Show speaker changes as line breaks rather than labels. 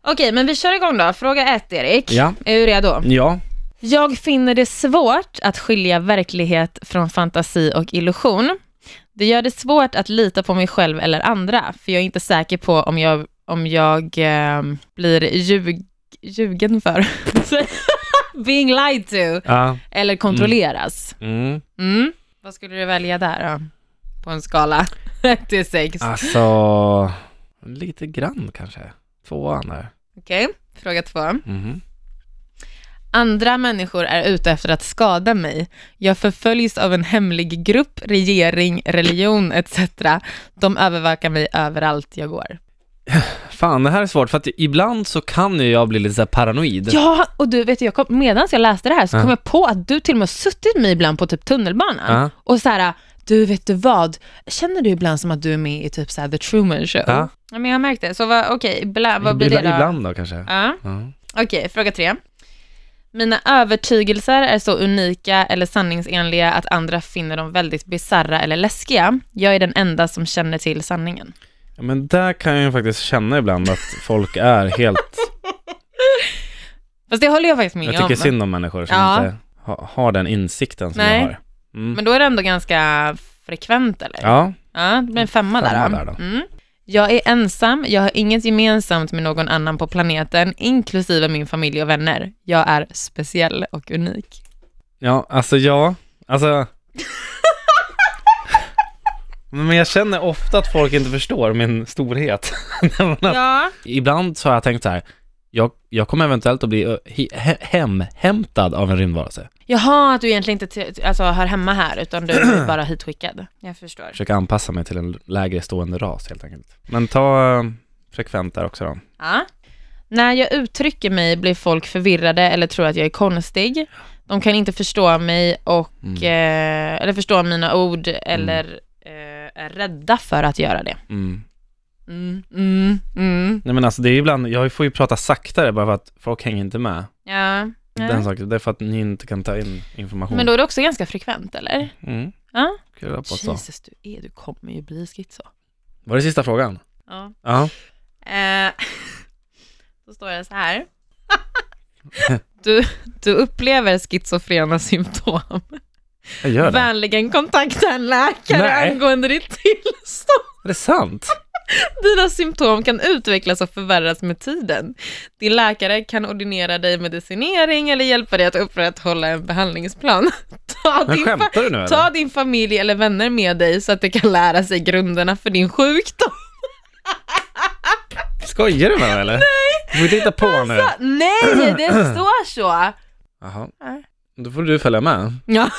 Okej, men vi kör igång då. Fråga ett, Erik.
Ja.
Är du redo?
Ja.
Jag finner det svårt att skilja verklighet från fantasi och illusion. Det gör det svårt att lita på mig själv eller andra, för jag är inte säker på om jag, om jag eh, blir ljug, ljugen för. Being lied to.
Ja.
Eller kontrolleras.
Mm.
Mm. Vad skulle du välja där då? På en skala 1 till 6.
Alltså, lite grann kanske. Tvåan där.
Okej, fråga två.
Mhm.
Andra människor är ute efter att skada mig. Jag förföljs av en hemlig grupp, regering, religion etc. De övervakar mig överallt jag går.
Fan, det här är svårt för att ibland så kan ju jag bli lite så här paranoid.
Ja, och du vet, jag kom, medan jag läste det här så
Ja.
kom jag på att du till och med har suttit med mig ibland på typ tunnelbanan
Ja.
och så här, du vet du vad, känner du ibland som att du är med i typ så här The Truman Show?
Ja.
Ja, men jag har märkt det, så vad, okej, bla- vad blir det då?
ibland, ibland då kanske.
Ja.
Ja.
Okej, fråga tre. Mina övertygelser är så unika eller sanningsenliga att andra finner dem väldigt bizarra eller läskiga. Jag är den enda som känner till sanningen.
Ja, Men där kan jag ju faktiskt känna ibland att folk är helt...
Fast det håller jag faktiskt med
Jag
om.
tycker synd om människor som
Ja.
inte ha, har den insikten som
Nej.
jag har. Mm.
Men då är det ändå ganska frekvent, eller?
Ja,
Ja, det blir en femma,
Femma
där
där
då.
då.
Mm. Jag är ensam, jag har inget gemensamt med någon annan på planeten, inklusive min familj och vänner. Jag är speciell och unik.
ja, alltså ja, alltså... Men jag känner ofta att folk inte förstår min storhet. När man har-
Ja.
Ibland så har jag tänkt så här, jag, jag kommer eventuellt att bli ö, he- he- hemhämtad av en rymdvarelse.
Jaha, att du egentligen inte till- alltså, hör hemma här, utan du är bara hitskickad. Jag förstår.
Försöka anpassa mig till en lägre stående ras helt enkelt. Men ta eh, frekvent där också då.
Ja. När jag uttrycker mig blir folk förvirrade eller tror att jag är konstig. De kan inte förstå mig och,
Mm.
eh, eller förstå mina ord eller eh, är rädda för att göra det.
Mm.
Mm, mm, mm.
Nej men alltså det är ibland, jag får ju prata saktare bara för att folk hänger inte med.
Ja.
Den
ja.
saken, det är för att ni inte kan ta in information.
Men då är det också ganska frekvent, eller?
Mm.
Ja.
Kul att påstå.
Jesus, du, är, du kommer ju bli schizo.
Var det sista frågan?
Ja.
Ja.
Eh, då står det så här. Du, du upplever schizofrena symptom.
Jag gör det.
Vänligen kontakta en läkare
Nej.
angående ditt tillstånd.
Är det sant?
Dina symptom kan utvecklas och förvärras med tiden. Din läkare kan ordinera dig medicinering eller hjälpa dig att upprätthålla en behandlingsplan. Ta
Men
din, fa-
skämtar du nu eller?
ta din familj eller vänner med dig så att de kan lära sig grunderna för din sjukdom.
Skojar du med mig eller? Nej! Du får inte hitta på nu.
Nej, det står så.
Jaha. Då får du följa med.
Ja.